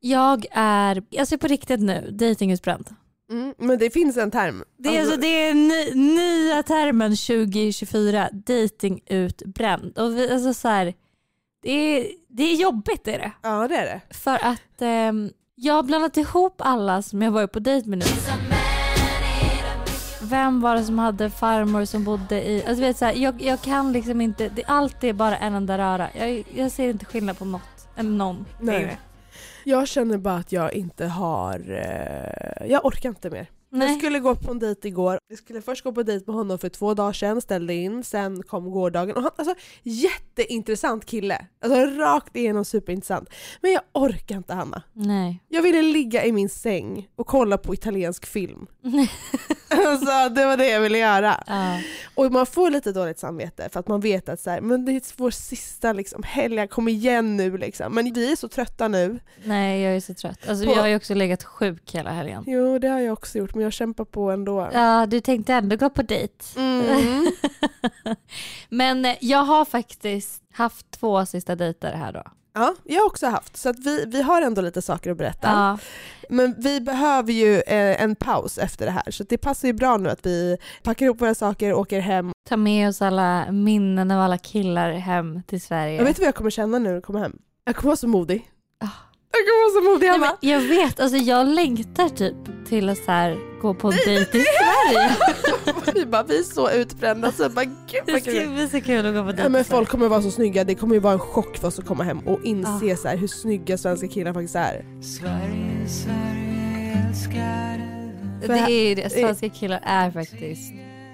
Jag är, alltså på riktigt nu, dating är spänt. Mm, men det finns en term. Det är, alltså, det är ny, nya termen 2024, dating utbränd. Och vi, alltså så här, det, är, det är jobbigt är det. Ja det är det. För att ehm, jag har blandat ihop alla som jag varit på dejt med nu. Vem var det som hade farmor som bodde i... Alltså vet så här, jag, jag kan liksom inte... Det, allt är bara en enda röra. Jag, jag ser inte skillnad på något. Eller någon. Nej. längre. Jag känner bara att jag inte har, eh, jag orkar inte mer. Jag Nej. skulle gå på en dejt igår. Jag skulle först gå på dejt med honom för två dagar sedan, ställde in, sen kom gårdagen. Och han, alltså, jätteintressant kille. Alltså rakt igenom superintressant. Men jag orkar inte Hanna. Nej. Jag ville ligga i min säng och kolla på italiensk film. alltså det var det jag ville göra. Ja. Och man får lite dåligt samvete för att man vet att så här, men det är vår sista liksom, helg, jag kom igen nu liksom. Men vi är så trötta nu. Nej, jag är så trött. Alltså, På- Jag har ju också legat sjuk hela helgen. Jo det har jag också gjort men jag kämpar på ändå. Ja, du tänkte ändå gå på dejt. Mm. Men eh, jag har faktiskt haft två sista dejter här då. Ja, jag har också haft. Så att vi, vi har ändå lite saker att berätta. Ja. Men vi behöver ju eh, en paus efter det här så det passar ju bra nu att vi packar ihop våra saker och åker hem. Ta med oss alla minnen av alla killar hem till Sverige. Jag vet vad jag kommer känna när du kommer hem? Jag kommer vara så modig. Ah. Jag kommer vara så modig Nej, Hanna. men jag vet, alltså jag längtar typ till att så här, gå på en dejt i Sverige. vi bara, vi är så utbrända så jag bara gud Det vad ska kul. bli så kul att gå på dejt Ja, i Sverige. men folk kommer vara så snygga, det kommer ju vara en chock för oss att komma hem Ah. och inse så här, hur snygga svenska killar faktiskt är. Sverige, Sverige älskar dig. Det är ju det, svenska killar är faktiskt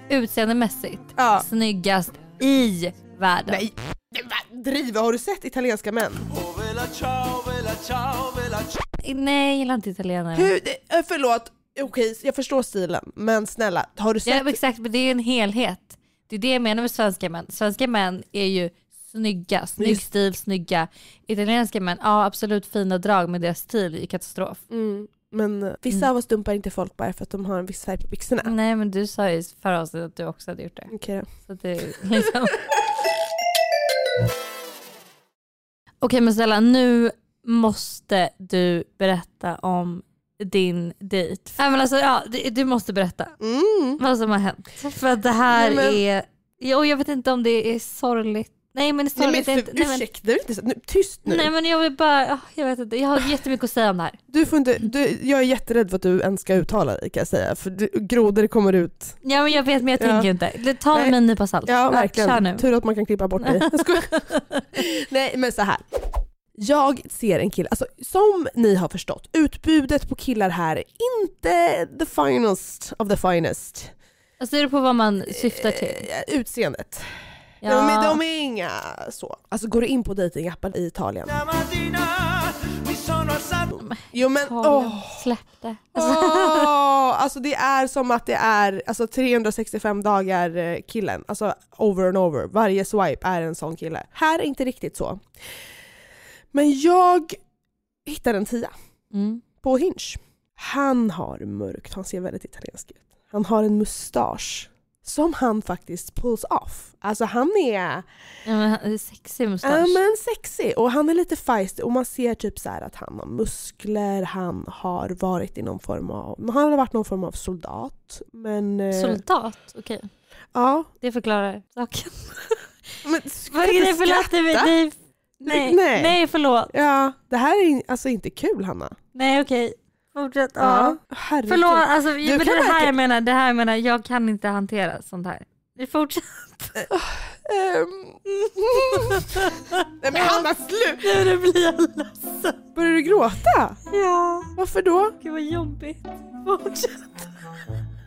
utseendemässigt Ja. snyggast i världen. Ah. Nej, nej, va? driver, har du sett italienska män? Oh, vela ciao, vela ciao, vela ciao. Nej, jag gillar inte italienare. Hur, det, eh, förlåt, okej jag förstår stilen men snälla har du Ja, sett? men exakt, men det är en helhet. Det är det jag menar med svenska män. Svenska män är ju snygga, snygg Just- stil, snygga. Italienska män, ja absolut fina drag men deras stil är ju katastrof. Mm, men eh, vissa av oss dumpar inte folk bara för att de har en viss färg på byxorna. Nej men du sa ju i förra avsnittet att du också hade gjort det. Okej då. Så att det är liksom... Okej men Stella, nu måste du berätta om din dejt. Nej men alltså ja, du, du måste berätta. Mm. vad som har hänt. För att det här Nej, men- är... Jo, jag vet inte om det är sorgligt. Nej men Nej, men, sorgligt är för, inte... Nej men, ursäkta, det är inte så, nu, tyst nu. nej men jag vill bara... ah, Jag vet inte. Jag har jättemycket att säga om det här. Du får inte, du, jag är jätterädd för att du ens ska uttala dig kan jag säga för du, grodor kommer ut Ja men jag vet men jag Ja. tänker inte. Det- Ta Nej. med en nypa salt. Ja verkligen. Kör nu. Tur att man kan klippa bort mig. Jag skojar. Nej men så här. Jag ser en kille, alltså som ni har förstått, utbudet på killar här är inte the finest of the finest. Alltså det beror på vad man syftar till. Eh, Utseendet. Ja. De, är- de är inga så. Alltså går du in på datingappar i Italien? Stamattina mi sono alzato. Jo men Italien. åh! Släpp det. Alltså, Åh, alltså det är som att det är alltså 365 dagar eh, killen. Alltså over and over. Varje swipe är en sån kille. Här är inte riktigt så. Men jag hittade en tia mm. på Hinge. Han har mörkt, han ser väldigt italiensk ut. Han har en mustasch som han faktiskt pulls off. Alltså han är, ja, men, han är sexig Ja mustasch. men sexig och han är lite feisty och man ser typ så här att han har muskler, han har varit i någon form av, han har varit någon form av soldat. Men, eh, Soldat? Okej. ja. Det förklarar saken. men Vad är det för skratta? låt? Nej. Nej. Nej. Nej förlåt. Ja, det här är in- alltså inte kul Hanna. Nej okej. Fortsätt. Ja. Herregud. Förlåt, alltså, Du men det kan här verkligen- jag menar, det här jag menar, jag kan inte hantera sånt här. Vi fortsätter. Ehm. Nej men Hanna slut! Nu nu blir jag ledsen. Börjar du gråta? Ja, Varför då? gud vad jobbigt. Fortsätt.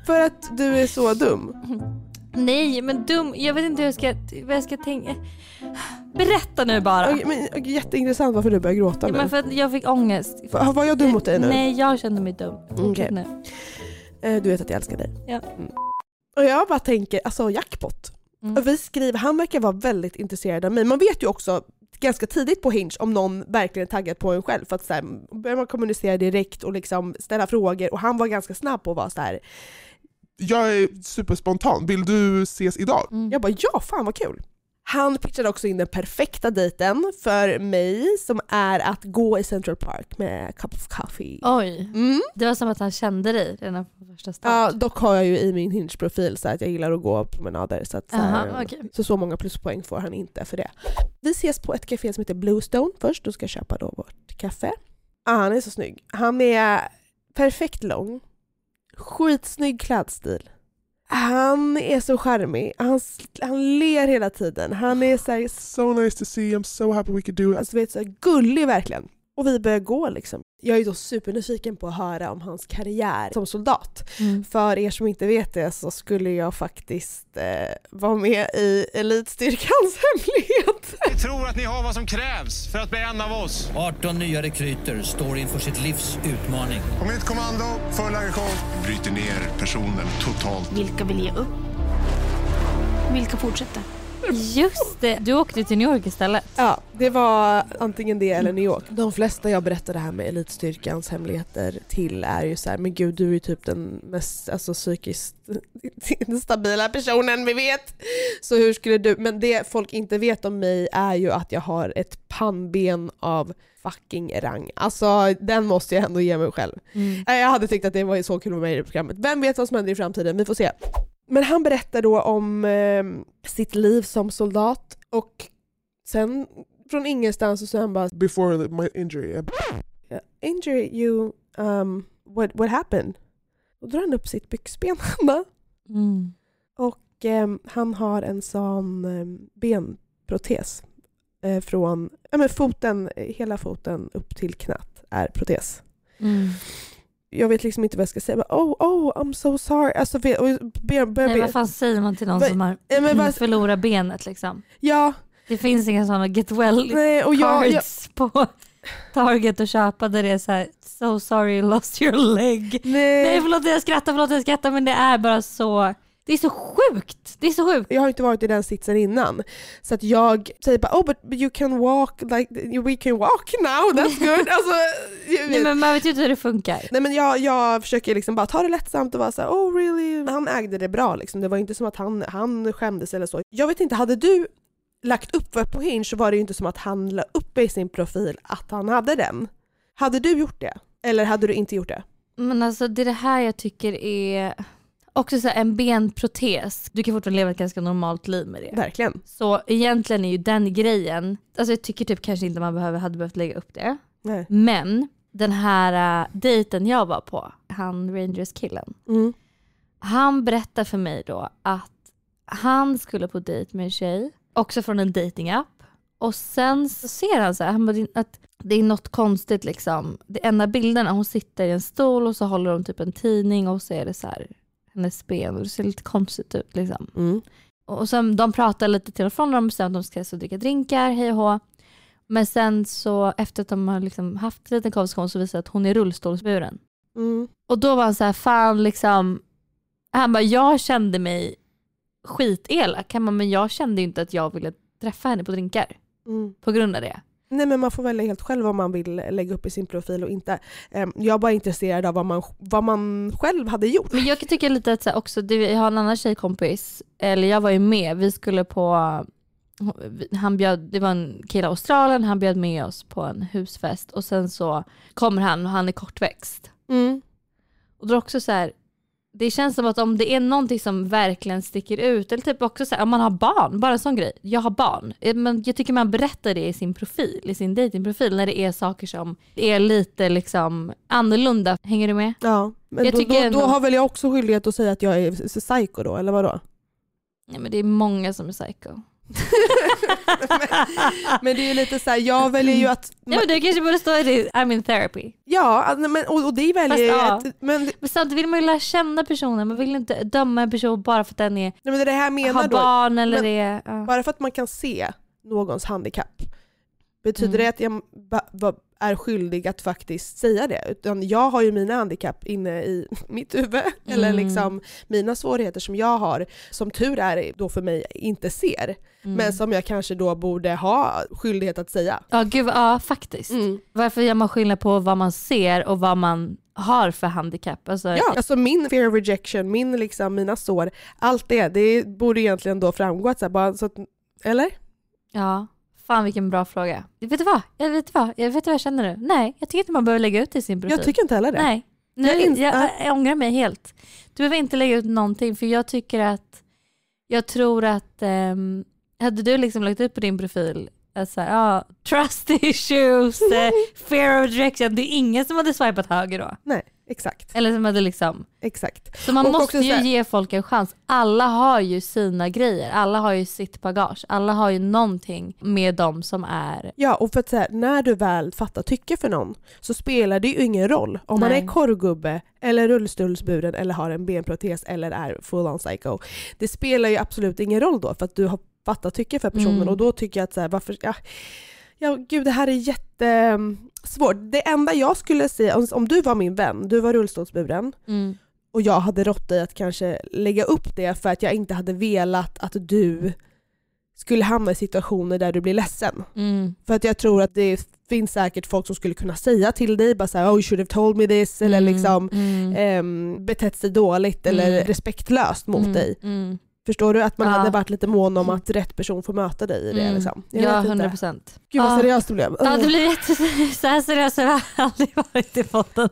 För att du är så dum? Nej, men dum. Jag vet inte hur jag ska, vad jag ska tänka. Berätta nu bara. Okej, men, okej, jätteintressant varför du börjar gråta Ja, nu. men för att jag fick ångest. F- Var jag dum mot dig nu? Nej, jag kände mig dum. Okej. Fortsätt nu. Eh, Du vet att jag älskar dig. Ja. Mm. Och jag bara tänker, alltså jackpot. Mm. Och vi skriver, han verkar vara väldigt intresserad av mig. Man vet ju också ganska tidigt på Hinge om någon verkligen är taggad på en själv. För att så här, börjar man kommunicera direkt och liksom ställa frågor och han var ganska snabb på att vara så här. Jag är superspontan. Vill du ses idag? Mm. jag bara ja fan vad kul. Han pitchade också in den perfekta dejten för mig som är att gå i Central Park med a cup of coffee. Oj, Mm. det var som att han kände dig redan från första Ja, start. dock har jag ju i min Hinge-profil så att jag gillar att gå promenader. Så, att, så, här, Aha, okej. så så många pluspoäng får han inte för det. Vi ses på ett café som heter Bluestone först. Då ska jag köpa då vårt kaffe. Ah, han är så snygg. Han är perfekt lång. Skitsnygg klädstil. Han är så charmig. Han, han ler hela tiden. Han är så här, so nice to see you. I'm so happy we could do it. Alltså vet, så här, gullig verkligen. Och vi börjar gå liksom. Jag är ju då supernyfiken på att höra om hans karriär som soldat. Mm. För er som inte vet det så skulle jag faktiskt eh, vara med i elitstyrkans hemlighet. Vi tror att ni har vad som krävs för att bli en av oss. 18 nya rekryter står inför sitt livs utmaning. Kom hit kommando, full aggression. Bryter ner personen totalt. Vilka vill ge upp? Vilka fortsätter? Just det, du åkte till New York istället. Ja, det var antingen det eller New York. De flesta jag berättar det här med elitstyrkans hemligheter till är ju så här, men gud du är ju typ den mest alltså, psykiskt instabila personen vi vet. Så hur skulle du, men det folk inte vet om mig är ju att jag har ett pannben av fucking rang. Alltså den måste jag ändå ge mig själv. Nej, Jag hade tyckt att det var så kul att vara med i det programmet. Vem vet vad som händer i framtiden, vi får se. Men han berättar då om eh, sitt liv som soldat och sen från ingenstans och så han bara Before the- my injury, I “Injury you, um, what, what happened?” Då drar han upp sitt byxben Hanna. Mm. och ehm, han har en sån ehm, benprotes eh, från ja, men foten, eh, hela foten upp till knät är protes. Mm. Jag vet liksom inte vad jag ska säga. Bara, Oh, oh, I'm so sorry. Alltså, vi- och be, börjar Nej, be, vad fan säger man till någon Vad- som har Ja, men vad- förlorat benet liksom? ja, Det finns inga sådana get well nej, och jag, jag, cards på Target och köpa där det är så här so sorry you lost your leg. Eh. Nej förlåt jag skrattar, förlåt jag skrattar men det är bara så, det är så sjukt. Det är så sjukt. jag har inte varit i den sitsen innan. Så att jag säger bara oh but you can walk, like, we can walk now, that's good. alltså, jag Nej, vet. men man vet ju inte hur det funkar. Nej men jag, jag försöker liksom bara ta det lättsamt och vara såhär oh really. Han ägde det bra liksom, det var ju inte som att han, han skämdes eller så. Jag vet inte, hade du lagt upp det på Hinge så var det ju inte som att han la upp i sin profil att han hade den. Hade du gjort det? Eller hade du inte gjort det? Men alltså det är det här jag tycker är också så här, en benprotes. Du kan fortfarande leva ett ganska normalt liv med det. Verkligen. Så egentligen är ju den grejen, alltså jag tycker typ kanske inte man behöver, hade behövt lägga upp det. Nej. Men den här uh, dejten jag var på, han Rangers-killen, Mm. han berättade för mig då att han skulle på dejt med en tjej, också från en datingapp. Och sen så ser han så här, han bara, "Det- att det är något konstigt liksom. Det enda bilderna, hon sitter i en stol och så håller hon typ en tidning och så är det så här hennes ben och det ser lite konstigt ut liksom. Mm. Och sen, de pratar lite till och från, de bestämmer att de ska så dricka drinkar, hej och hå. Men sen så efter att de har liksom haft en liten konversation så visar det att hon är rullstolsburen. Mm. Och då var han så här, fan liksom, han bara jag kände mig skitelak. Han bara, men jag kände ju inte att jag ville träffa henne på drinkar Mm. på grund av det. Nej men man får välja helt själv om man vill lägga upp i sin profil och inte. Ehm, Jag är bara intresserad av vad man, vad man själv hade gjort. Men jag kan tycka lite att så här, också, du, jag har en annan tjejkompis, eller jag var ju med, vi skulle på, han bjöd, det var en kille i Australien, han bjöd med oss på en husfest och sen så kommer han och han är kortväxt. Och då är det också så här, det känns som att om det är någonting som verkligen sticker ut, eller typ också så här, om man har barn, bara en sån grej, jag har barn. Eh, Men jag tycker man berättar det i sin profil, i sin datingprofil när det är saker som är lite liksom annorlunda. Hänger du med? Ja, men Jag då, tycker då, ändå- då har väl jag också skyldighet att säga att jag är s- psycho då, eller vadå? Nej men det är många som är psycho. Men det är ju lite så här, jag väljer ju att... Ja men det kanske borde stå i det, I'm in therapy. Ja, alltså, men, och, och det väljer ju ja. att... Men, nej, Men samtidigt vill man ju lära känna personen, man vill inte döma en person bara för att den är, men det är det här jag menar har då, barn eller men- är... Ja. bara för att man kan se någons handikapp, betyder Mm. det att jag ba- ba- är skyldig att faktiskt säga det? Utan jag har ju mina handikapp inne i mitt huvud, eller Mm. liksom mina svårigheter som jag har, som tur är då för mig inte ser, Mm. men som jag kanske då borde ha skyldighet att säga. Ja gud, ja faktiskt. Mm. Varför gör man skillnad på vad man ser och vad man har för handikapp? Alltså, Ja, alltså min fear of rejection, min liksom, mina sår, allt det, det borde egentligen då framgå att så här, bara så att Eller? Ja, fan vilken bra fråga. Vet du vad? Jag vet, vad? jag vet vad jag känner nu. Nej, jag tycker inte man behöver lägga ut det i sin profil. Jag tycker inte heller det. Nej, nu, Jag jag, ins- jag, ja. ångrar mig helt. Du behöver inte lägga ut någonting för jag tycker att, jag tror att, ehm, hade du liksom lagt ut på din profil att så här, ja, trust issues, eh, fear of rejection, det är ingen som hade swipat höger då. Nej, exakt. Eller som hade liksom, exakt. så man Och också måste så här- ju ge folk en chans. Alla har ju sina grejer, alla har ju sitt bagage, alla har ju någonting med dem som är Ja, och för att så här, när du väl fattar tycke för någon så spelar det ju ingen roll om man Nej. är korvgubbe eller rullstolsburen eller har en benprotes eller är full on psycho. Det spelar ju absolut ingen roll då för att du har fattat tycke för personen Mm. och då tycker jag att så här, varför... Ja, ja, gud det här är jättesvårt. Det enda jag skulle säga, om, om du var min vän, du var rullstolsburen mm, och jag hade rått dig att kanske lägga upp det för att jag inte hade velat att du skulle hamna i situationer där du blir ledsen. mm, För att jag tror att det finns säkert folk som skulle kunna säga till dig bara såhär “Oh you should have told me this” eller mm, liksom mm, ehm, betett sig dåligt eller Mm. respektlöst mot mm, dig. Mm. Förstår du? Att man Ja. hade varit lite mån om att rätt person får möta dig i det. Mm. Liksom. Jag Ja, vet inte. 100 procent. Gud vad Ja. seriöst det blev. Ja, det Ugh. blir jätte- så här seriös har jag aldrig varit i podden.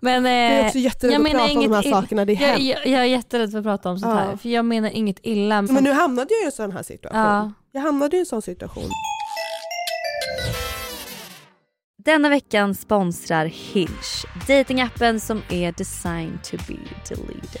Men Jag är eh, också jätterädd jag att menar prata om de här inget- sakerna, det är jag, hemskt. jag, jag är jätterädd för att prata om sånt här. Ja. För jag menar inget illa. Men nu hamnade jag i en sån här situation. Ja. Jag hamnade i en sån situation. Denna veckan sponsrar Hinge, datingappen som är designed to be deleted.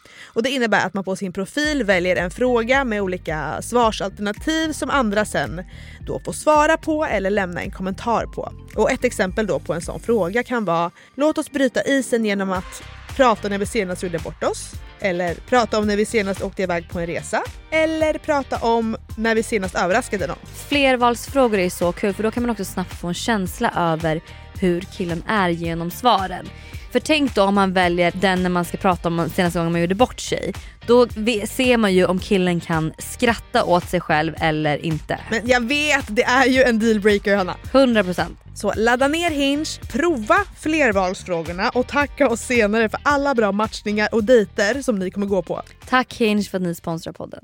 och det innebär att man på sin profil väljer en fråga med olika svarsalternativ som andra sen då får svara på eller lämna en kommentar på. Och ett exempel då på en sån fråga kan vara “Låt oss bryta isen genom att prata när vi senast gjorde bort oss” eller “Prata om när vi senast åkte iväg på en resa” eller “Prata om när vi senast överraskade någon”. Flervalsfrågor är så kul för då kan man också snabbt få en känsla över hur killen är genom svaren. För tänk då om man väljer den när man ska prata om senaste gången man gjorde bort sig. Då ve- ser man ju om killen kan skratta åt sig själv eller inte. Men jag vet, det är ju en dealbreaker Hanna. 100%. Så ladda ner Hinge, prova flervalsfrågorna och tacka oss senare för alla bra matchningar och dejter som ni kommer gå på. Tack Hinge för att ni sponsrar podden.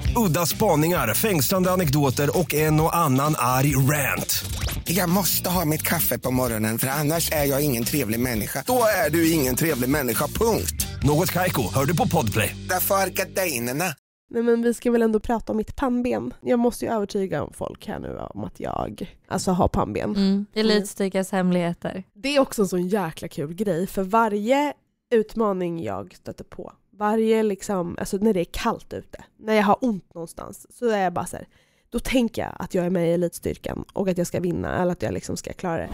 Udda spaningar, fängslande anekdoter och en och annan arg rant. Jag måste ha mitt kaffe på morgonen för annars är jag ingen trevlig människa. Då är du ingen trevlig människa, punkt. Något Kaiko, hör du på Podplay. Därför är gardinerna. Nej men vi ska väl ändå prata om mitt pannben. Jag måste ju övertyga folk här nu om att jag alltså har pannben. Mm. Elitstyrkas hemligheter. Det är också en sån jäkla kul grej för varje utmaning jag stöter på, varje liksom, alltså när det är kallt ute, när jag har ont någonstans, så är jag bara så här, då tänker jag att jag är med i elitstyrkan och att jag ska vinna eller att jag liksom ska klara det.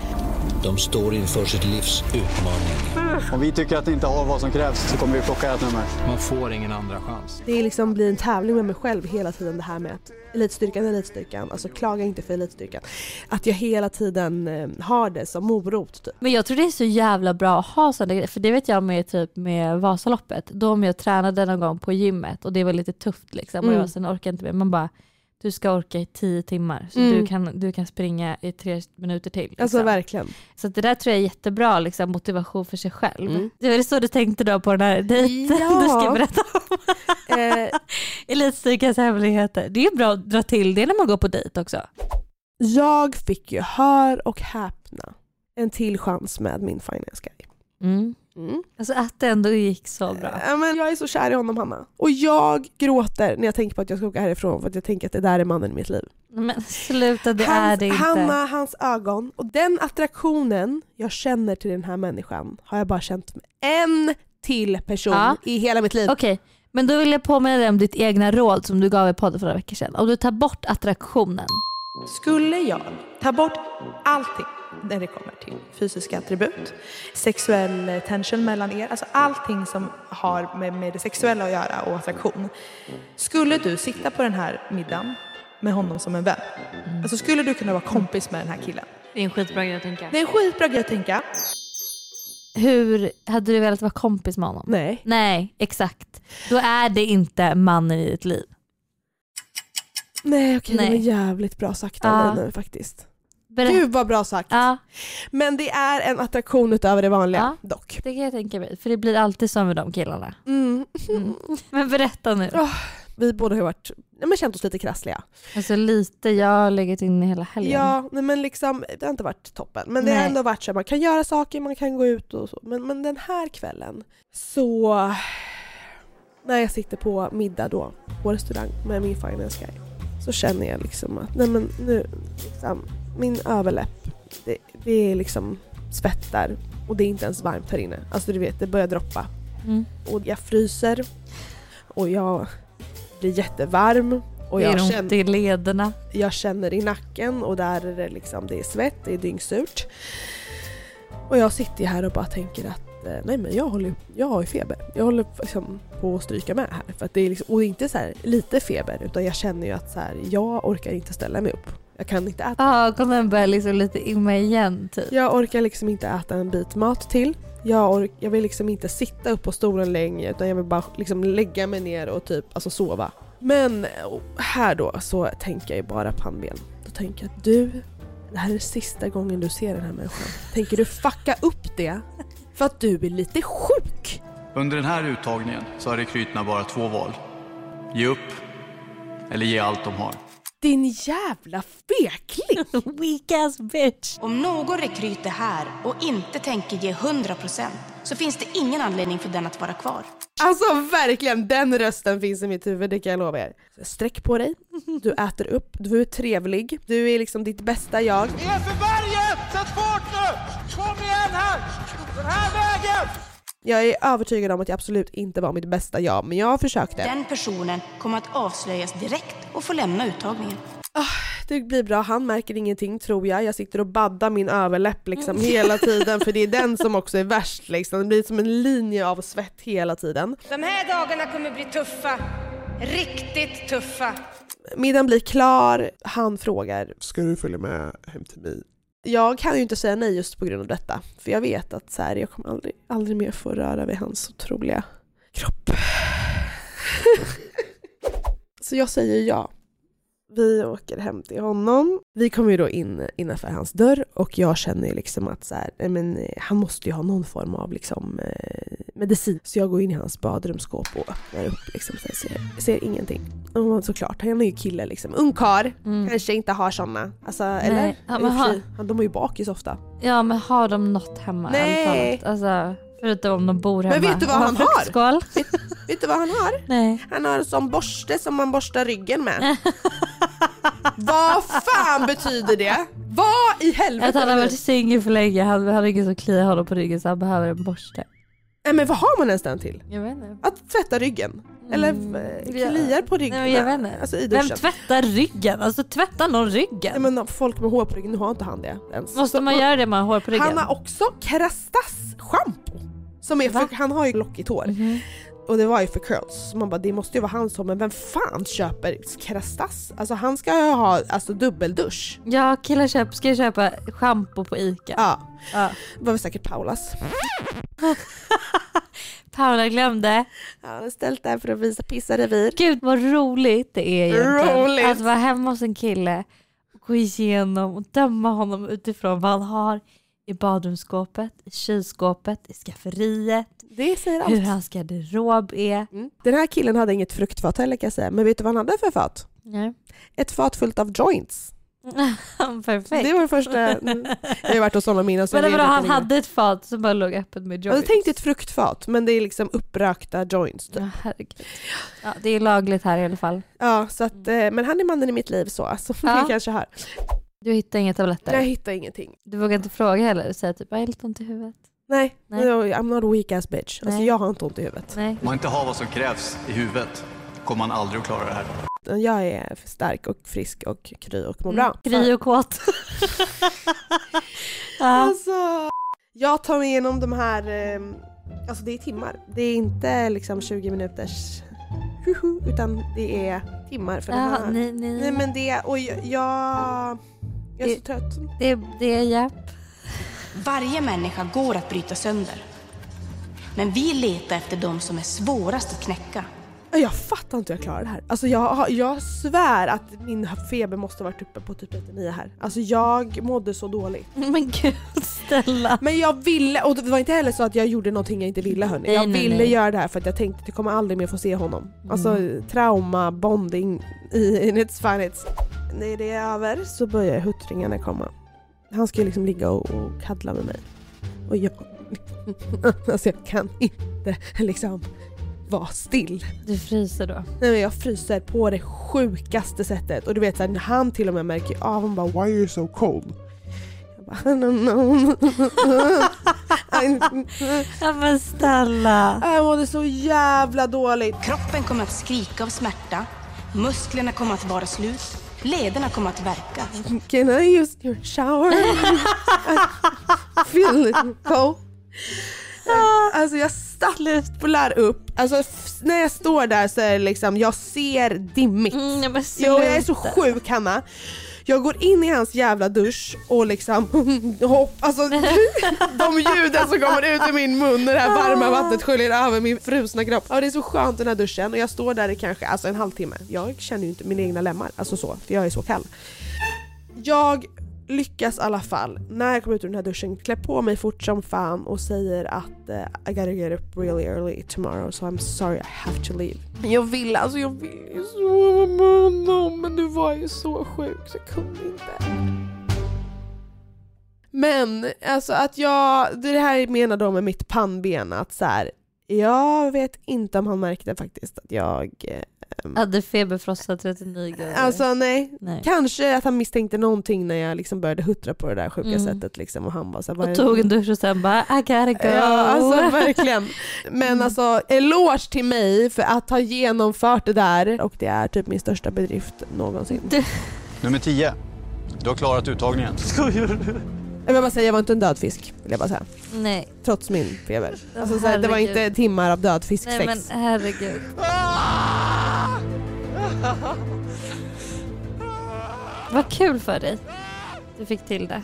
De står inför sitt livs utmaning. Om vi tycker att ni inte har vad som krävs så kommer vi plocka ert nummer. Man får ingen andra chans. Det är liksom blir en tävling med mig själv hela tiden det här med att elitstyrkan är elitstyrkan, alltså klaga inte för elitstyrkan. Att jag hela tiden eh, har det som morot typ. Men jag tror det är så jävla bra att ha sådana grejer. För det vet jag med typ med Vasaloppet. Då om jag tränade någon gång på gymmet och det var lite tufft liksom. Och Mm. jag var sen orkar inte mer. Man bara, du ska orka i tio timmar. Så Mm. du, kan, du kan springa i tre minuter till. Liksom. Alltså verkligen. så att det där tror jag är jättebra liksom, motivation för sig själv. Mm. Det var det så du tänkte då på den här dejten Ja. du ska berätta om? Eh, Elitstyrkans hemligheter. Det är ju bra att dra till det när man går på dejt också. jag fick ju, hör och häpna, en till chans med min finance guy. Mm. Mm. Alltså att det ändå gick så bra. Ja, men jag är så kär i honom Hanna. Och jag gråter när jag tänker på att jag ska åka härifrån för att jag tänker att det där är mannen i mitt liv. Men sluta, det hans, är det inte. Hanna, hans ögon och den attraktionen jag känner till den här människan har jag bara känt med en till person Ja. i hela mitt liv. Okej, men då vill jag påminna dig om ditt egna råd som du gav i podden för några veckor sedan. Om du tar bort attraktionen. Skulle jag ta bort allting när det kommer till fysiska attribut, sexuell tension mellan er, alltså allting som har med, med det sexuella att göra och attraktion. Skulle du sitta på den här middagen med honom som en vän, alltså skulle du kunna vara kompis med den här killen? Det är en skitbra grej att tänka. Det är en skitbra grej att tänka. Hur hade du velat vara kompis med honom? Nej. Nej, exakt. Då är det inte mannen i ditt liv. Nej okej, Nej. den är jävligt bra sagt av Ja. dig nu faktiskt. Berä- Gud vad bra sagt. Ja, Men det är en attraktion utöver det vanliga Ja. dock. det kan jag tänka mig. För det blir alltid så med de killarna. Mm. Men berätta nu. Ja. Vi båda har varit, nej, men känt oss lite krassliga. Alltså lite, jag har legat inne hela helgen. Ja, nej, men liksom, det har inte varit toppen. Men det har Nej. ändå varit så här, man kan göra saker, man kan gå ut och så. Men, men den här kvällen så... När jag sitter på middag då på restaurang med min finance guy så känner jag liksom att nej men nu, liksom, min överläpp, det, det är liksom svettar och det är inte ens varmt här inne. Alltså du vet, det börjar droppa. Mm. Och jag fryser och jag blir jättevarm. Och det jag är ont känner i lederna. jag känner i nacken och där är det liksom, det är svett, det är dyngsurt. Och jag sitter ju här och bara tänker att eh, nej men jag håller jag har ju feber. Jag håller liksom på att stryka med här. För att det är liksom, och det är inte så här lite feber utan jag känner ju att så här, jag orkar inte ställa mig upp. Jag kan inte äta. Ja, ögonen börjar liksom lite imma igen typ. Jag orkar liksom inte äta en bit mat till. Jag, ork, jag vill liksom inte sitta upp på stolen längre utan jag vill bara liksom lägga mig ner och typ alltså sova. Men eh, här då så tänker jag ju bara pannben. Då tänker jag att du, det här är sista gången du ser den här människan. Tänker du fucka upp det för att du är lite sjuk? Under den här uttagningen så har rekryterna bara två val. Ge upp eller ge allt de har. Din jävla fekling! Weak ass bitch. Om någon rekryt är här och inte tänker ge 100% så finns det ingen anledning för den att vara kvar. Alltså verkligen, den rösten finns i mitt huvud, det kan jag lova er. Sträck på dig, du äter upp, du är trevlig, du är liksom ditt bästa jag. Vi är för varje! Sätt fart nu! Kom igen här! Den här vägen! Jag är övertygad om att jag absolut inte var mitt bästa jag, men jag försökte. Den personen kommer att avslöjas direkt och få lämna uttagningen. Det blir bra, han märker ingenting tror jag. Jag sitter och baddar min överläpp liksom hela tiden för det är den som också är värst liksom. Det blir som en linje av svett hela tiden. De här dagarna kommer bli tuffa. Riktigt tuffa. Middagen blir klar, han frågar. Ska du följa med hem till mig? Jag kan ju inte säga nej just på grund av detta, för jag vet att så här, jag kommer aldrig, aldrig mer få röra vid hans otroliga kropp. Så jag säger ja. Vi åker hem till honom. Vi kommer ju då in innanför hans dörr och jag känner ju liksom att så här, nej men, eh, han måste ju ha någon form av liksom, eh, medicin. Så jag går in i hans badrumsskåp och öppnar upp liksom, så jag ser, ser ingenting. Och såklart, han är ju kille liksom. Ungkar Mm. kanske inte har sådana. Alltså, eller? Ja, Ja, men ha- han, de är ju bakis ofta. Ja men har de något hemma? Nej. överhuvudtaget? Alltså, förutom om de bor Men hemma. vet du vad Och han har? fruktskål. Vet du vad han har? Nej. Han har en sån borste som man borstar ryggen med. vad fan betyder det? Vad i helvete? Att han har betyder varit det? singel för länge. Han har ingen som kliar honom på ryggen så han behöver en borste. Nej men vad har man ens den till? Jag vet inte. Att tvätta ryggen? Eller eh, kliar på ryggen? Mm. Nej, men jag vet inte. Alltså i Vem duschen. tvättar ryggen? Alltså tvättar någon ryggen? Nej men folk med hår på ryggen, nu har inte han det ens. Måste Så- man göra det med hår på ryggen? Han har också Kerastas-schampo. Som är för, han har ju lockigt hår. Mhm. Och det var ju för curls. Så Man bara det måste ju vara hans hår men vem fan köper Kerastas? Alltså han ska ju ha alltså, dubbeldusch. Ja killar köp, ska jag köpa shampoo på ICA. Ja. Ja. Det var väl säkert Paulas. Paula glömde. Ja, han har ställt där för att visa pissarevir. Gud vad roligt det är egentligen. Roligt. Att vara hemma hos en kille och gå igenom och döma honom utifrån vad han har i badrumsskåpet, i kylskåpet, i skafferiet, Det säger hur allt. Mm. hans garderob är. Den här killen hade inget fruktfat heller kan jag säga. Men vet du vad han hade för fat? Nej. Ett fat fullt av joints. Perfekt. Det var det första... Mm. Jag har ju varit hos honom innan så Men jag vadå, vet Mm. han inte längre. hade ett fat som bara låg öppet med Jag joints? hade tänkt ett fruktfat men det är liksom upprökta joints. typ. Ja, herregud. Ja, det är lagligt här i alla fall. Ja, så att, eh, men han är mannen i mitt liv så, som Mm. Ja. ni kanske hör. Du hittar inga tabletter? Jag hittar ingenting. Du vågar inte fråga heller? Säga typ jag har lite ont i huvudet? Nej, Nej. No, I'm not a weak ass bitch. Alltså Nej. jag har inte ont i huvudet. Nej. Om man inte har vad som krävs i huvudet kommer man aldrig att klara det här. utan jag är för stark och frisk och kry Mm, och mår bra. Mm. Kry och kåt. alltså, jag tar mig igenom de här, eh, alltså det är timmar. Det är inte liksom 20 minuters huhu, utan det är timmar för den Ja, här. nej, nej. nej men det, och jag, jag, jag är så trött. Det, det är Japp. Varje människa går att bryta sönder. Men vi letar efter de som är svårast att knäcka. Jag fattar inte hur jag klarar det här. Alltså jag, har- jag svär att min feber måste ha varit uppe på typ 39 här. Alltså jag mådde så dåligt. Men gud Stella. Men jag ville, och det var inte heller så att jag gjorde någonting jag inte ville hörni. Nej, jag nej, ville nej. göra det här för att jag tänkte att jag kommer aldrig mer få se honom. Alltså Mm. trauma, bonding i, in its finest. När det är över så börjar huttringarna komma. Han ska ju liksom ligga och, och kaddla med mig. Och jag, alltså jag kan inte liksom vara still. Du fryser då. Nej men jag fryser på det sjukaste sättet. Och du vet såhär, han till och med märker av, han bara “Why are you so cold?” Jag bara “I don't know”. Ja men Stella. Jag mådde så jävla dåligt. Kroppen kommer att skrika av smärta. Musklerna kommer att vara slut. Lederna kommer att verka. “Can I use your shower?” I feel cold. Alltså jag stapplar upp. Alltså f- när jag står där så är det liksom, jag ser dimmigt. Mm, nej, men Jo, jag är så sluta. sjuk Hanna. Jag går in i hans jävla dusch och liksom hopp, alltså de ljuden som kommer ut ur min mun när det här varma vattnet sköljer över min frusna kropp. Ja, det är så skönt i den här duschen och jag står där i kanske alltså en halvtimme. Jag känner ju inte mina egna lemmar, alltså så, för jag är så kall. Jag lyckas i alla fall, när jag kommer ut ur den här duschen, klä på mig fort som fan och säger att eh, I gotta get up really early tomorrow so I'm sorry I have to leave. Jag vill alltså, jag vill ju sova med honom men du var ju så sjuk så jag kunde inte. Men alltså att jag, det här menar de med mitt pannben att så här, jag vet inte om han märkte faktiskt att jag eh, Hade feberfrossa 39 grader. Alltså nej. Nej. Kanske att han misstänkte någonting när jag liksom började huttra på det där sjuka Mm. sättet. Liksom, och han bara så här, "Vad är och det- tog en dusch och sen bara I gotta go. Ja, alltså verkligen. Mm. Men alltså eloge till mig för att ha genomfört det där och det är typ min största bedrift någonsin. Nummer 10. Du har klarat uttagningen. Skojar du? Jag vill bara säga, jag var inte en död fisk vill jag bara säga. Nej. Trots min feber. Åh, Alltså, så här, det var herregud. inte timmar av död fisksex. Nej men herregud. Vad kul för dig. Du fick till det.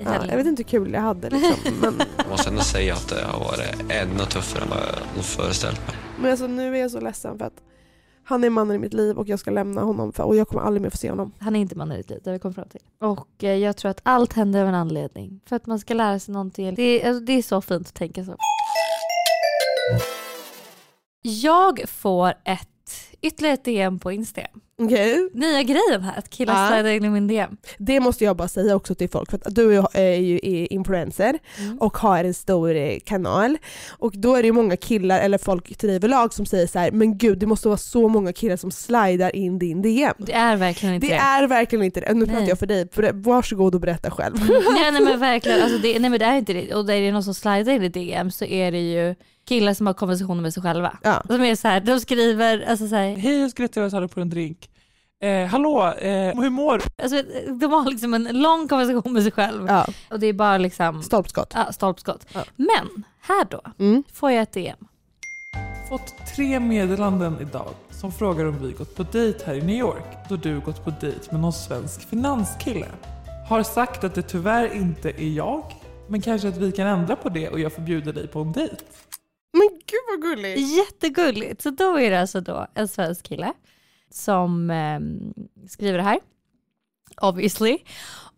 I ja, helgen. jag vet inte hur kul jag hade liksom. men, Jag måste ändå säga att det har varit ännu tuffare än vad jag nog föreställt mig. men alltså, nu är jag så ledsen för att han är mannen i mitt liv och jag ska lämna honom för, och jag kommer aldrig mer få se honom. Han är inte man i ditt liv, det har vi kommit fram till. Och eh, jag tror att allt händer av en anledning. För att man ska lära sig någonting. Det är, alltså, det är så fint att tänka så. Jag får ett, ytterligare ett DM på Instagram. Okej. Nya grejen här, att killar Ja. slidar in i min DM. Det måste jag bara säga också till folk för att du är ju är influencer Mm. och har en stor eh, kanal och då är det ju många killar eller folk till dig överlag som säger så här: men gud det måste vara så många killar som slidar in din DM. Det är verkligen inte Det är verkligen inte det. Nu pratar Nej. Mm. jag för dig, Ber- varsågod och berätta själv. nej, nej men verkligen, alltså det, nej men det är inte det. Och är det någon som slidar in i DM så är det ju killar som har konversationer med sig själva. Ja. De är så här, de skriver, alltså så här, Hej, jag skulle trevligt att ha på en drink. Eh, hallå, eh, hur mår alltså, de har liksom en lång konversation med sig själv. Ja. Och det är bara liksom... Stolpskott. Ja, stolpskott. Men här då Mm. får jag ett E DM. Fått tre meddelanden idag som frågar om vi gått på dejt här i New York då du gått på dejt med någon svensk finanskille. Har sagt att det tyvärr inte är jag, men kanske att vi kan ändra på det och jag förbjuder dig på en dejt. Men gud vad gulligt! Jättegulligt. Så då är det alltså då en svensk kille som eh, skriver det här. Obviously.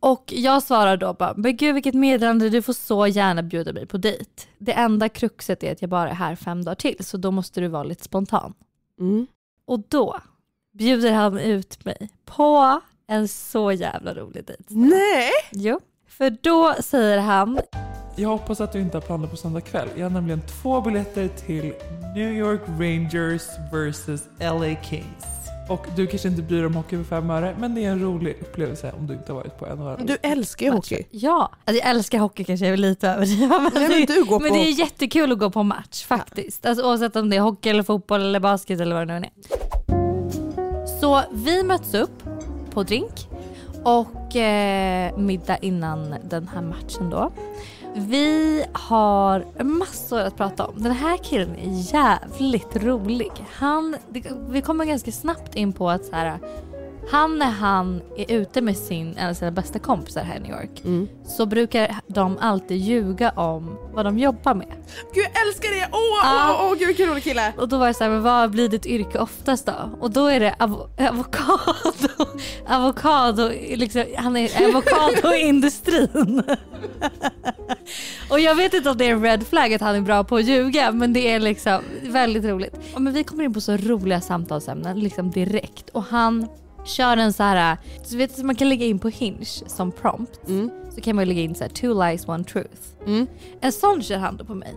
Och jag svarar då bara, men gud vilket meddelande, du får så gärna bjuda mig på dejt. Det enda kruxet är att jag bara är här fem dagar till, så då måste du vara lite spontan. Mm. Och då bjuder han ut mig på en så jävla rolig dejt. Nej! Jo, för då säger han, Jag hoppas att du inte har planer på söndag kväll. Jag har nämligen två biljetter till New York Rangers vs LA Kings. Och du kanske inte bryr dig om hockey för fem öre, men det är en rolig upplevelse om du inte har varit på NHL. Du älskar ju hockey. Ja, alltså jag älskar hockey kanske jag är lite överdriven. Men, Nej, men det- du går men på- det är jättekul att gå på match faktiskt. Alltså, oavsett om det är hockey eller fotboll eller basket eller vad det nu än är. Så Så vi möts upp på drink och eh, middag innan den här matchen då. Vi har massor att prata om. Den här killen är jävligt rolig. Han, det, vi kommer ganska snabbt in på att så här, han när han är ute med sin, en av sina bästa kompisar här i New York så brukar de alltid ljuga om vad de jobbar med. Gud jag älskar det! Åh, åh, åh gud vilken rolig kille! Och då var jag såhär, men vad blir ditt yrke oftast då? Och då är det av- avokado. avokado liksom, han är avokadoindustrin. och jag vet inte om det är en red flag att han är bra på att ljuga men det är liksom väldigt roligt. Ja, Men vi kommer in på så roliga samtalsämnen liksom direkt och han kör en så här, du vet som man kan lägga in på Hinge som prompt. Mm. Så kan man lägga in så här, two lies one truth. En sån kör han då på mig.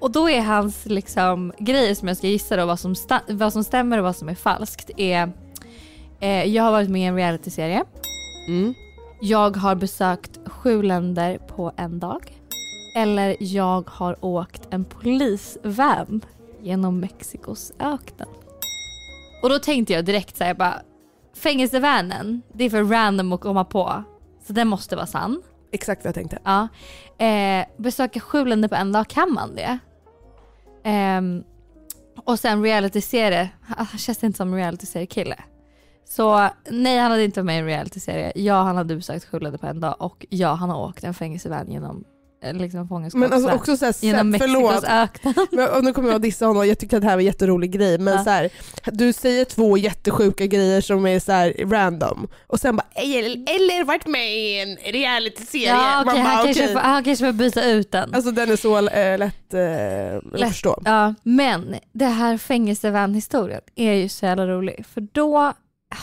Och då är hans liksom, grejer som jag ska gissa då vad som, sta- vad som stämmer och vad som är falskt är eh, jag har varit med i en realityserie. Mm. Jag har besökt sju länder på en dag. Eller jag har åkt en polisvan genom Mexikos öken. Och då tänkte jag direkt såhär bara fängelsevanen, det är för random att komma på. Så den måste vara sann. Exakt vad jag tänkte. Ja. Eh, besöka sju länder på en dag, kan man det? Ehm, och sen realityserie, han känns inte som en realityserie-kille. Så nej, han hade inte varit med i en realityserie. Ja, han hade besökt sju länder på en dag och ja, han har åkt en fängelsevan genom eh, liksom Men alltså fångenskapsvärn. också såhär, genom sätt- Mexikos förlåt. öken. Men, och nu kommer jag att dissa honom, jag tyckte att det här var en jätterolig grej men Ja. så här, du säger två jättesjuka grejer som är så här random och sen bara eller, eller varit med i en realityserie. Ja, Man okej, bara, han, kanske okej. får, han kanske får byta ut den. Alltså den är så eh, lätt, eh, att Lätt, förstå. Ja, men det här fängelsevan-historien är ju så jävla rolig. För då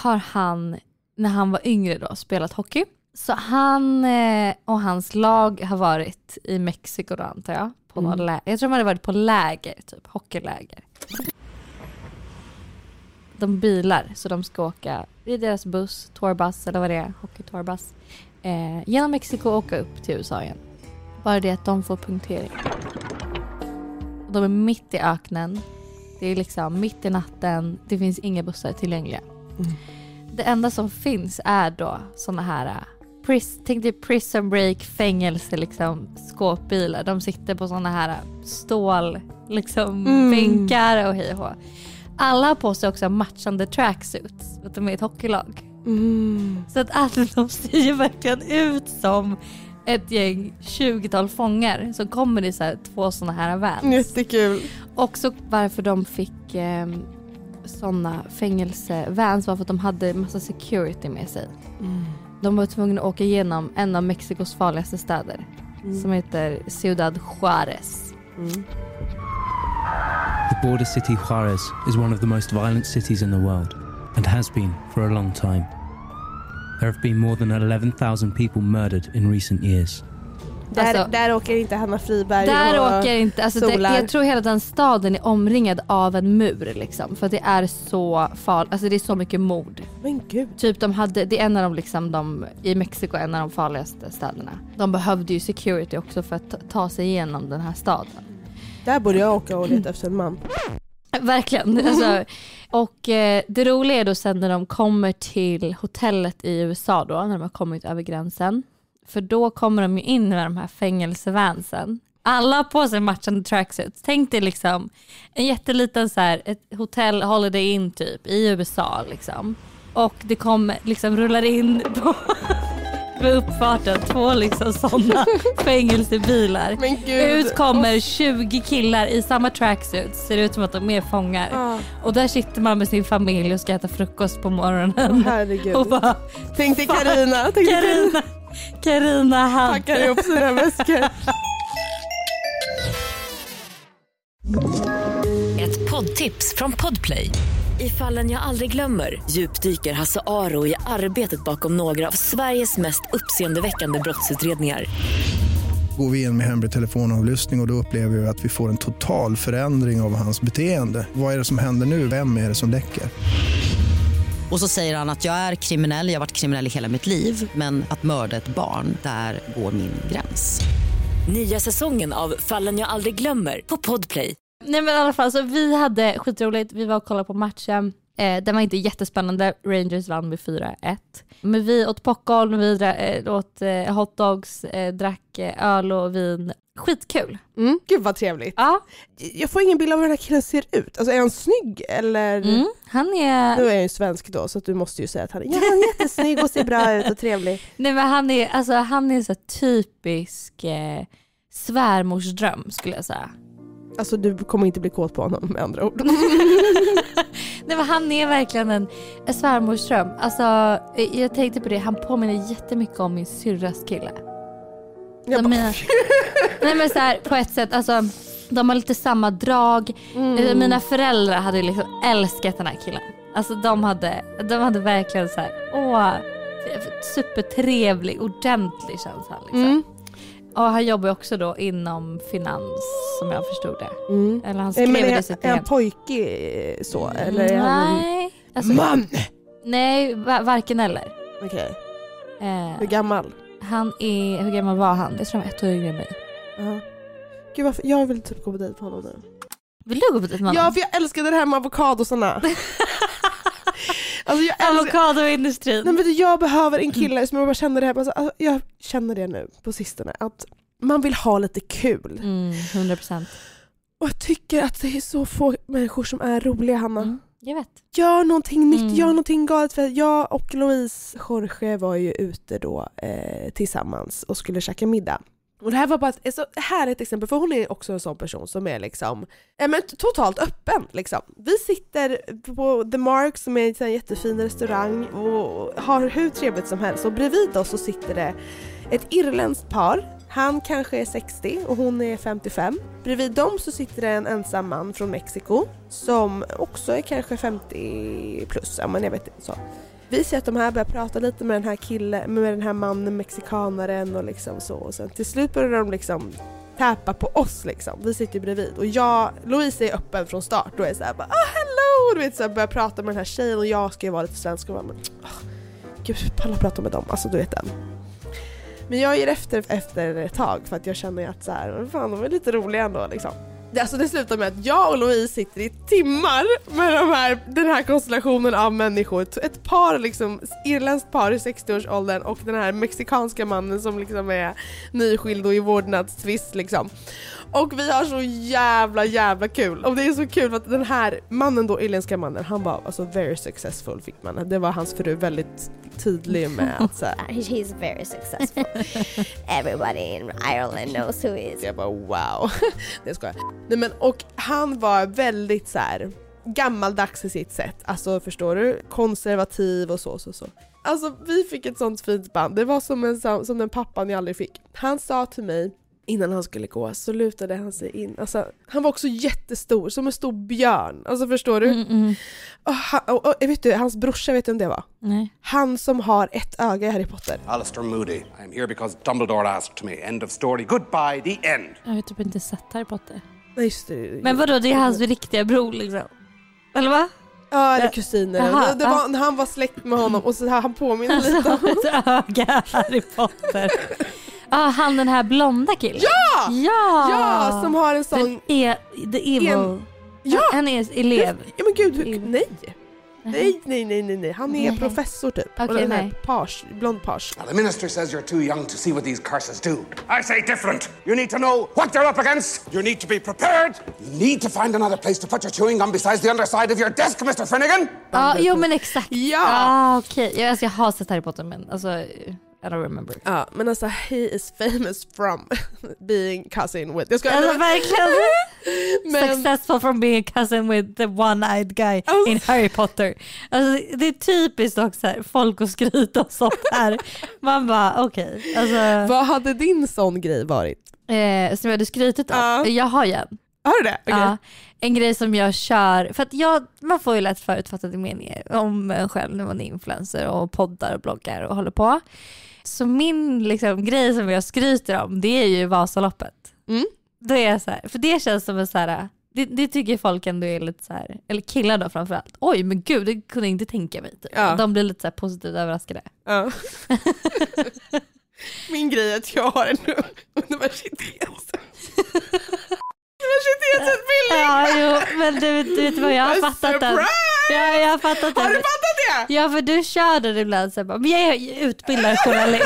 har han, när han var yngre då, spelat hockey. Så han eh, och hans lag har varit i Mexiko då antar jag. På Mm. någon lä- jag tror de hade varit på läger, typ hockeyläger. De bilar, så de ska åka, det är deras buss, tourbuss eller vad det är, hockeytourbuss. Eh, genom Mexiko och åka upp till USA igen. Bara det att de får punktering. De är mitt i öknen. Det är liksom mitt i natten. Det finns inga bussar tillgängliga. Det enda som finns är då såna här eh, pris, tänk dig prison break, fängelse, liksom, skåpbilar. De sitter på såna här eh, stål, liksom, Mm. bänkar och hej och hå. Alla har på sig också matchande tracksuits för att de är ett hockeylag. Så att alla de ser ju verkligen ut som ett gäng 20-tal fångar som kommer i så här, två såna här vans. Jättekul. Också varför de fick eh, såna fängelsevans var för att de hade massa security med sig. Mm. De var tvungna att åka igenom en av Mexikos farligaste städer Mm. som heter Ciudad Juarez. The border city Juarez is one of the most violent cities in the world and has been for a long time. There have been more than 11,000 people murdered in recent years. Där, där åker inte Hanna Friberg Alltså- Där och åker inte, alltså det, solar. jag tror hela den staden är omringad av en mur liksom för att det är så farligt, alltså det är så mycket mord. Men gud. Typ de hade, det är en av de liksom de, i Mexiko, en av de farligaste städerna. De behövde ju security också för att ta- ta sig igenom den här staden. Där borde jag åka och leta efter en man. Verkligen. Alltså, och eh, det roliga är då sen när de kommer till hotellet i USA då, när de har kommit över gränsen. För då kommer de ju in med de här fängelsevansen. Alla har på sig matchande tracksuits. Tänk dig liksom en jätteliten så här, ett hotell, Holiday Inn typ, i USA liksom. Och det kommer, liksom rullar in på vid uppfarten två liksom sådana fängelsebilar. Men gud. Ut kommer 20 killar i samma tracksuits. Ser ut som att de är fångar. Ja. Och där sitter man med sin familj och ska äta frukost på morgonen. Åh, herregud. Och bara, Tänk dig fuck, Carina, tänk dig Oh, Carina. Carina Hante. Packar ihop sina väskor. Ett poddtips från Podplay. I fallen jag aldrig glömmer djupdyker Hasse Aro i arbetet bakom några av Sveriges mest uppseendeväckande brottsutredningar. Går vi in med hemlig telefonavlyssning och, och då upplever vi att vi får en total förändring av hans beteende. Vad är det som händer nu? Vem är det som läcker? Och så säger han att jag är kriminell, jag har varit kriminell i hela mitt liv men att mörda ett barn, där går min gräns. Nya säsongen av Fallen jag aldrig glömmer på Podplay. Nej men i alla fall så vi hade skitroligt, vi var och kollade på matchen. Eh, den var inte jättespännande. Rangers vann med 4-1. Men vi åt popcorn, vi dra- eh, åt eh, hotdogs, eh, drack eh, öl och vin. Skitkul. Mm. Gud vad trevligt. Ja. Jag får ingen bild av hur den här killen ser ut. Alltså är han snygg eller? Mm. Han Nu är... är jag ju svensk då så att du måste ju säga att han är, ja, han är jättesnygg och ser bra ut och trevlig. Nej, men han är, alltså, han är så här typisk eh, svärmorsdröm skulle jag säga. Alltså du kommer inte bli kåt på honom med andra ord. Mm. Nej men han är verkligen en, en svärmorsdröm. Alltså eh, jag tänkte på det, han påminner jättemycket om min syrras kille. Jag De är, nej men så här, på ett sätt, alltså de har lite samma drag. mm. Eh, Mina föräldrar hade ju liksom älskat den här killen. Alltså de hade, de hade verkligen så här, åh, supertrevlig, ordentlig känns han liksom. Mm. Och han jobbar ju också då inom finans som jag förstod det. Eller han skrev Eh, men det i är, sitt är han brev. pojkig eh, så eller är han en- Nej. alltså- man? Nej, va- varken eller. Okej, hur Eh, gammal? han är, hur gammal var han? Jag tror han var ett år yngre än mig. Ja. Gud, varför, jag vill typ gå på dejt med honom nu. Vill du gå på dejt med Ja honom? för jag älskar det här med avokadosarna. alltså jag älskar... Avokadoindustrin. Nej, men du, jag behöver en kille som jag bara känner det här, alltså, jag känner det nu på sistone att man vill ha lite kul. Mm, 100 procent. Och jag tycker att det är så få människor som är roliga Hanna. Mm, Jag vet. Gör någonting nytt, Mm. gör någonting galet. För jag och Louise Jorge var ju ute då eh, tillsammans och skulle käka middag. Och det här var bara ett, så här är ett exempel, för hon är också en sån person som är liksom, eh, men t- totalt öppen liksom. Vi sitter på The Mark som är en sån här jättefin restaurang och har hur trevligt som helst och bredvid oss så sitter det ett irländskt par. Han kanske är 60 och hon är 55. Bredvid dem så sitter det en ensam man från Mexiko som också är kanske 50 plus, ja men jag vet inte så. Vi ser att de här börjar prata lite med den här killen, med den här mannen, mexikanaren och liksom så. Och sen till slut börjar de liksom täpa på oss liksom. Vi sitter ju bredvid och jag, Louise är öppen från start och är såhär bara oh, hello! Du vet såhär börjar prata med den här tjejen och jag ska ju vara lite svensk och bara men åh, gud pallar prata med dem, alltså du vet den. Men jag ger efter efter ett tag för att jag känner att så här, men fan de är lite roliga ändå liksom. Det- Alltså det slutar med att jag och Louise sitter i timmar med de här, den här konstellationen av människor. Ett- Ett par liksom, irländskt par i 60-årsåldern och den här mexikanska mannen som liksom är nyskild och i vårdnadstvist liksom. Och vi har så jävla jävla kul. Och det är så kul för att den här mannen då, irländska mannen, han var alltså very successful fick man. Det var hans fru väldigt tydlig med att så här, He's very successful. Everybody in Ireland knows who he is. Jag bara wow. Det ska jag. Nej men och han var väldigt så här gammaldags i sitt sätt. Alltså förstår du? Konservativ och så så så. Alltså vi fick ett sånt fint band. Det var som, en, sam- som den pappan jag aldrig fick. Han sa till mig innan han skulle gå så lutade han sig in. Alltså, han var också jättestor, som en stor björn. Alltså förstår du? Mm, mm. Och, han, och, och vet du, hans brorsa, vet du vem det var? Nej. Han som har ett öga i Harry Potter. Alistair Moody. I am here because Dumbledore asked me. End of story. Goodbye, the end. Jag har ju typ inte sett Harry Potter. Nej just det. Men vadå, det är hans riktiga bror liksom? Eller va? Ja, eller kusiner. Jaha, det, det ja. var, när Han var släkt med honom och så här, han påminner Alltså, lite om ett öga Harry Potter. Ja, han den här blonda killen. Ja! Ja! Ja, som har en sån... Den är the evil. En- Ja! Han är elev. Ja men gud, Mm. hur, nej. nej! Nej, nej, nej, nej. Han är professor typ. och Okej, den här nej. pars, blond pars. Now, the minister says you're too young to see what these curses do. I say different. You need to know what you're up against. You need to be prepared. You need to find another place to put your chewing gum besides the underside of your desk, Mr. Finnegan. Ja, jo men exakt. typ- Ja! Ah, okej. Jag, alltså, jag har sett Harry Potter men alltså, I don't remember. Ja, men alltså he is famous from being cousin with... Jag skojar. Alltså verkligen. Men- Successful from being a cousin with the one-eyed guy Oh. in Harry Potter. Alltså, det är typiskt också här, folk och skryta och sånt här. Man bara okej. Alltså, Vad hade din sån grej varit? eh, som jag hade skrytit om. Ja. Jag har ju en. Har du det? Okej. Ja, en grej som jag kör, för att jag, man får ju lätt förutfattade meningar om en själv när man är influencer och poddar och bloggar och håller på. Så min liksom, grej som jag skryter om det är ju Vasaloppet. Mm. Då är jag så här, för det känns som en så här, det, det tycker folk ändå är lite så här, eller killar då framförallt, oj men gud det kunde jag inte tänka mig. Typ. Ja. De blir lite så här positivt överraskade. Ja. Min grej är att jag har en universitets... universitetsutbildning! Ja, jo, men du, du vet vad jag har fattat den. Surprise! Ja, jag har fattat det. Har du fattat det? Ja, för du kör den ibland. Så jag, bara, men jag är utbildad journalist.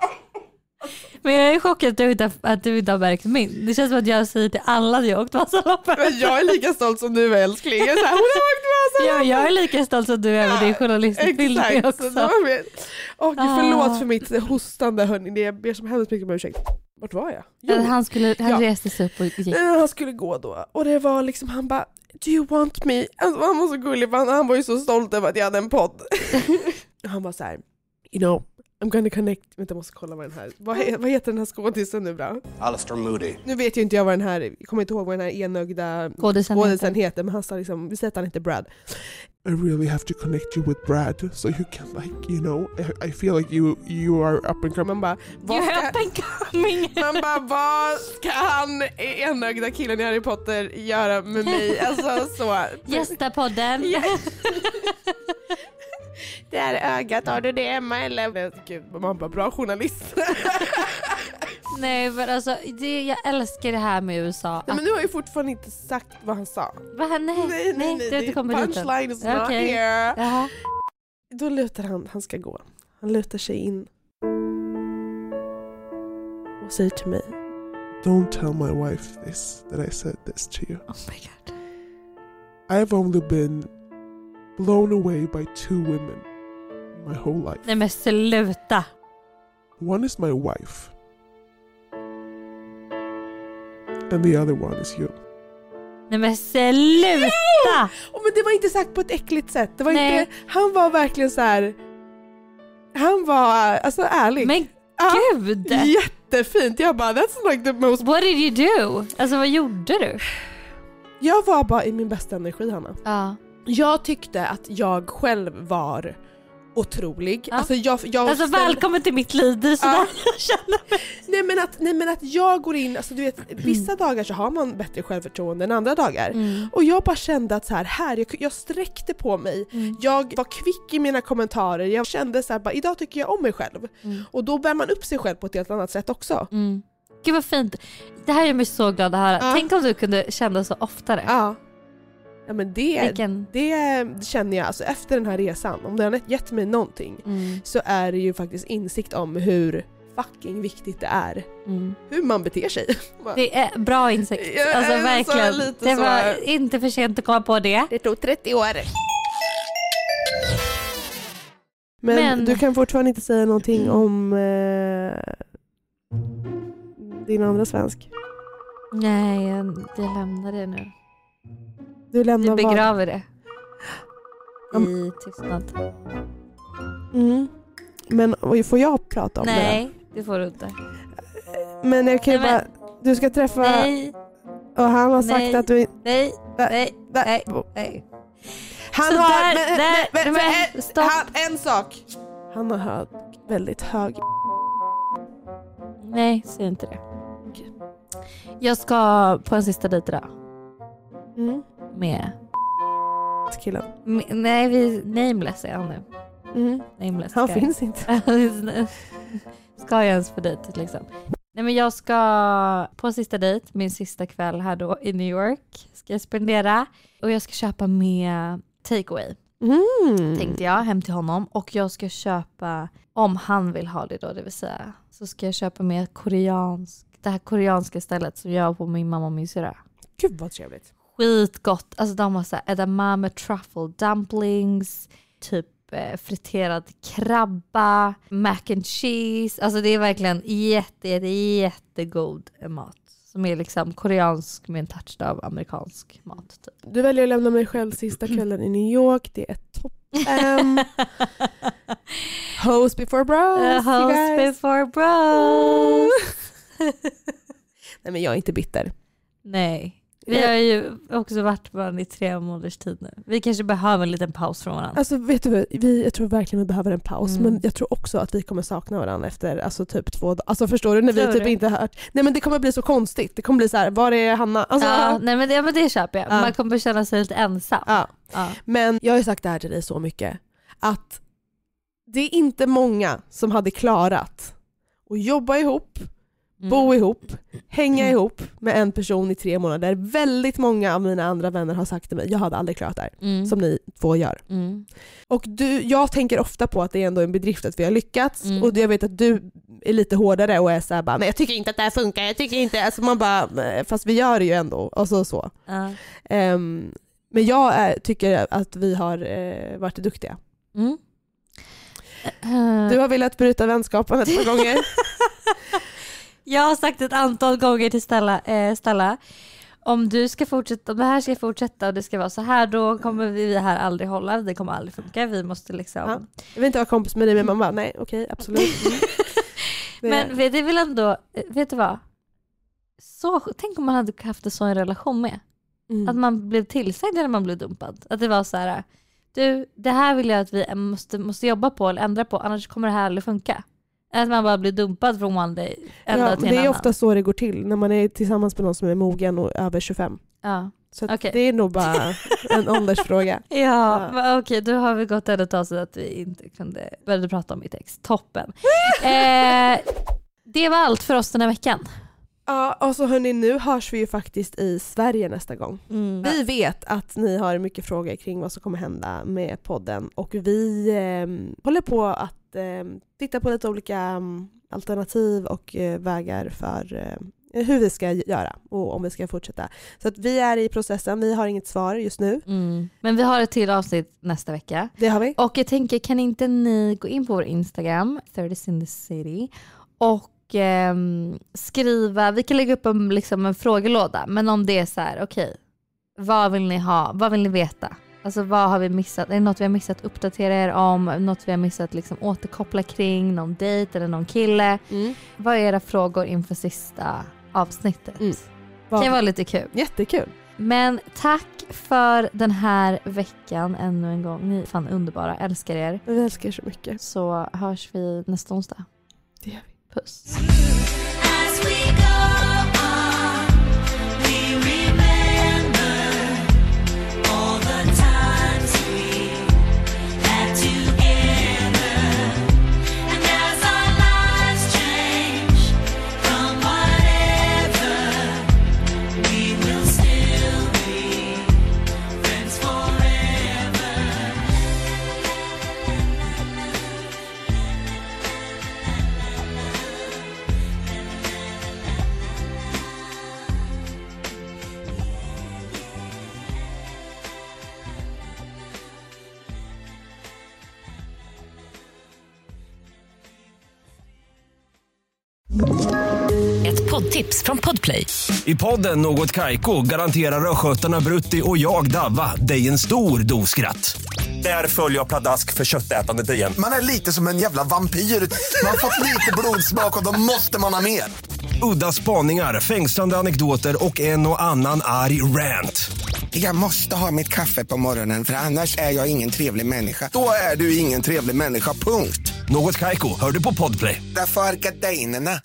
men jag är chockad att du inte, har- att du inte har märkt min. Det känns som att jag säger till alla att jag har åkt Vasaloppet. Men jag är lika stolt som du är älskling. Jag är så här, hon har åkt Ja, Vasaloppet. jag är lika stolt som du är med din journalistutbildning Exakt. så det också. var min- Åh gud, Ah. förlåt för mitt hostande hörni. Det- Jag ber så hemskt mycket om ursäkt. Vart var jag? Att Han, skulle, han Ja. reste sig upp och gick. Nej, Han skulle gå då och det var liksom, han bara Do you want me? Alltså, han var så gullig för han, han var ju så stolt över att jag hade en podd. han var så här, you know, I'm gonna connect. Vänta jag måste kolla vad den här, vad, he- vad heter den här skådisen nu då? Alistair Moody. Nu vet ju inte jag vad den här, jag kommer inte ihåg vad den här enögda Skådisen skådisen heter men han sa liksom, vi säger att han heter Brad. I really have to connect you with Brad so you can like, you know, I, I feel like you you are up and coming. Man bara, vad You're ska, up and coming. man bara, vad ska han enögda killen i Harry Potter göra med mig? Alltså så. Gästa podden. Där ögat, har du det hemma eller? Gud, man bara bra journalist. Nej men alltså det, jag älskar det här med USA. Nej, men du har ju fortfarande inte sagt vad han sa. Va? Nej, nej, nej, Mm. nej, du har det- inte kommit dit än. punchline is not Okej. here. Jaha. Då lutar han, han ska gå. Han lutar sig in. Och säger till mig. Don't tell my wife this that I said this to you. Oh my god. I've only been blown away by two women my whole life. Nej men sluta. One is my wife. And the other one is you. Nej men sluta. Oh, men det var inte sagt på ett äckligt sätt. Det var Nej. inte, han var verkligen så här. Han var alltså ärlig. Men Ja. gud. Jättefint. Jag bara that's like the most... What did you do? Alltså vad gjorde du? Jag var bara i min bästa energi Hanna. Ja. Jag tyckte att jag själv var otrolig. Ja. Alltså, jag, jag Alltså ställde- välkommen till mitt liv. Det är sådär jag känner mig. Nej men, att, nej men att jag går in, alltså du vet Mm. vissa dagar så har man bättre självförtroende än andra dagar. Och jag bara kände att så här, här jag, jag sträckte på mig, Mm. jag var kvick i mina kommentarer, jag kände så här, bara, idag tycker jag om mig själv. Och då bär man upp sig själv på ett helt annat sätt också. Mm. Gud vad fint. Det här gör mig så glad att höra. Ja. Tänk om du kunde känna så oftare. Ja. Ja men det, Vilken- det känner jag, alltså efter den här resan, om den har gett mig någonting Mm. så är det ju faktiskt insikt om hur fucking viktigt det är Mm. hur man beter sig. Det är bra insikt. Ja, Alltså så verkligen. lite det så var här. inte för sent att komma på det. Det tog 30 år. Men, Men- du kan fortfarande inte säga någonting om eh, din andra svensk. Nej, jag- jag lämnar det nu. Du lämnar Du vad? begraver det. I tystnad. Mm. Men oj, får jag prata om Nej, det får du inte. det? Men jag kan ju Nej, bara... Du ska träffa... Nej, Och han har sagt Nej. att du... nej, nej, nej, nej. Han Så har... där- men, där- men, men, men, en- stopp. han, en sak. Han har hög, väldigt hög... Nej, säg inte det. Jag ska på en sista dejt idag. Mm. Med... Killen. med nej, vi, nameless är han nu. Mm. Nameless Han ska jag- finns inte. ska jag ens på dejt liksom? Nej men jag ska på sista dejt, min sista kväll här då i New York, ska jag spendera. Och jag ska köpa med takeaway Mm. tänkte jag hem till honom. Och jag ska köpa, om han vill ha det då det vill säga, så ska jag köpa med koreansk, det här koreanska stället som jag på min mamma och min syrra. Gud vad trevligt. Skitgott! Alltså de har såhär edamame truffle dumplings, typ eh, friterad krabba, mac and cheese. Alltså det är verkligen jätte, jätte, jättegod eh, mat. Som är liksom koreansk med en touch av amerikansk mat. Typ. Du väljer att lämna mig själv sista kvällen i New York. Det är toppen. host before bros. A you host guys. before bros! Nej men jag är inte bitter. Eh, Nej. Vi har ju också varit varandra i tre månaders tid nu. Vi kanske behöver en liten paus från varandra. Alltså vet du vad? vi, jag tror verkligen vi behöver en paus Mm. men jag tror också att vi kommer sakna varandra efter alltså, typ två dagar. Alltså förstår du? När vi Tror typ du? inte hört. Nej men det kommer bli så konstigt. Det kommer bli så här, var är Hanna? Alltså, ja, nej, men det, ja, men det köper jag. Ja. Man kommer känna sig lite ensam. Ja. Ja. Men jag har ju sagt det här till dig så mycket att Mm. det är inte många som hade klarat att jobba ihop, bo ihop, hänga ihop med en person i tre månader. Väldigt många av mina andra vänner har sagt till mig, jag hade aldrig klarat det här. Mm. Som ni två gör. Mm. Och du, jag tänker ofta på att det är ändå en bedrift att vi har lyckats Mm. och jag vet att du är lite hårdare och är såhär bara “men jag tycker inte att det här funkar, jag tycker inte...” alltså man bara, "Men, fast vi gör det ju ändå. Och så, så. Ja. Ehm, men jag är, tycker att vi har eh, varit duktiga. Mm. Du har velat bryta vänskapen ett par gånger. Jag har sagt ett antal gånger till Stella, eh, Stella om du ska fortsätta, om det här ska fortsätta och det ska vara så här då kommer vi det här aldrig hålla, det kommer aldrig funka, vi måste liksom. Ja. Jag vill inte vara kompis med dig men man bara nej okej absolut. Mm. Det- Men vet du väl ändå, eh, vet du vad? Så, tänk om man hade haft det så i en relation med. Mm. Att man blev tillsagd när man blev dumpad. Att det var så här, du det här vill jag att vi måste, måste jobba på eller ändra på annars kommer det här aldrig funka. Att man bara blir dumpad från one day, en ja, dag till en det är annan. ofta så det går till när man är tillsammans med någon som är mogen och över 25. Ja. Så att Okej. det är nog bara en åldersfråga. Ja, men okej då har vi gått en tag så att vi inte kunde började prata om mitt ex. Toppen. eh, det var allt för oss den här veckan. Ja, och så hörni, nu hörs vi ju faktiskt i Sverige nästa gång. Vi vet att ni har mycket frågor kring vad som kommer hända med podden och vi ehm, håller på att ehm, titta på lite olika mm, alternativ och eh, vägar för eh, hur vi ska göra och om vi ska fortsätta. Så att vi är i processen, vi har inget svar just nu. Mm. Men vi har ett till avsnitt nästa vecka. Det har vi. Och jag tänker, kan inte ni gå in på vår Instagram, 30 in the city, och ehm, skriva, vi kan lägga upp en, liksom, en frågelåda, men om det är så här, okej, vad vill ni ha, vad vill ni veta? Alltså vad har vi missat? Är det något vi har missat uppdatera er om? Något vi har missat liksom återkoppla kring? Någon dejt eller någon kille? Vad är era frågor inför sista avsnittet? Det kan vara lite kul. Jättekul. Men tack för den här veckan ännu en gång. Ni är fan underbara, älskar er. Vi älskar er så mycket. Så hörs vi nästa onsdag. Det gör vi. Puss. As we go on, we remember all the times we had together. And as our lives change from whatever, we will still be friends forever. Ett poddtips från Podplay. I podden Något Kaiko garanterar östgötarna Brutti och jag, Davva, dig en stor dos skratt. Där följer jag pladask för köttätandet igen. Man är lite som en jävla vampyr. Man har fått lite blodsmak och då måste man ha mer. Udda spaningar, fängslande anekdoter och en och annan arg rant. Jag måste ha mitt kaffe på morgonen för annars är jag ingen trevlig människa. Då är du ingen trevlig människa, punkt. Något Kaiko, hör du på podplay. Därför arkadeinerna.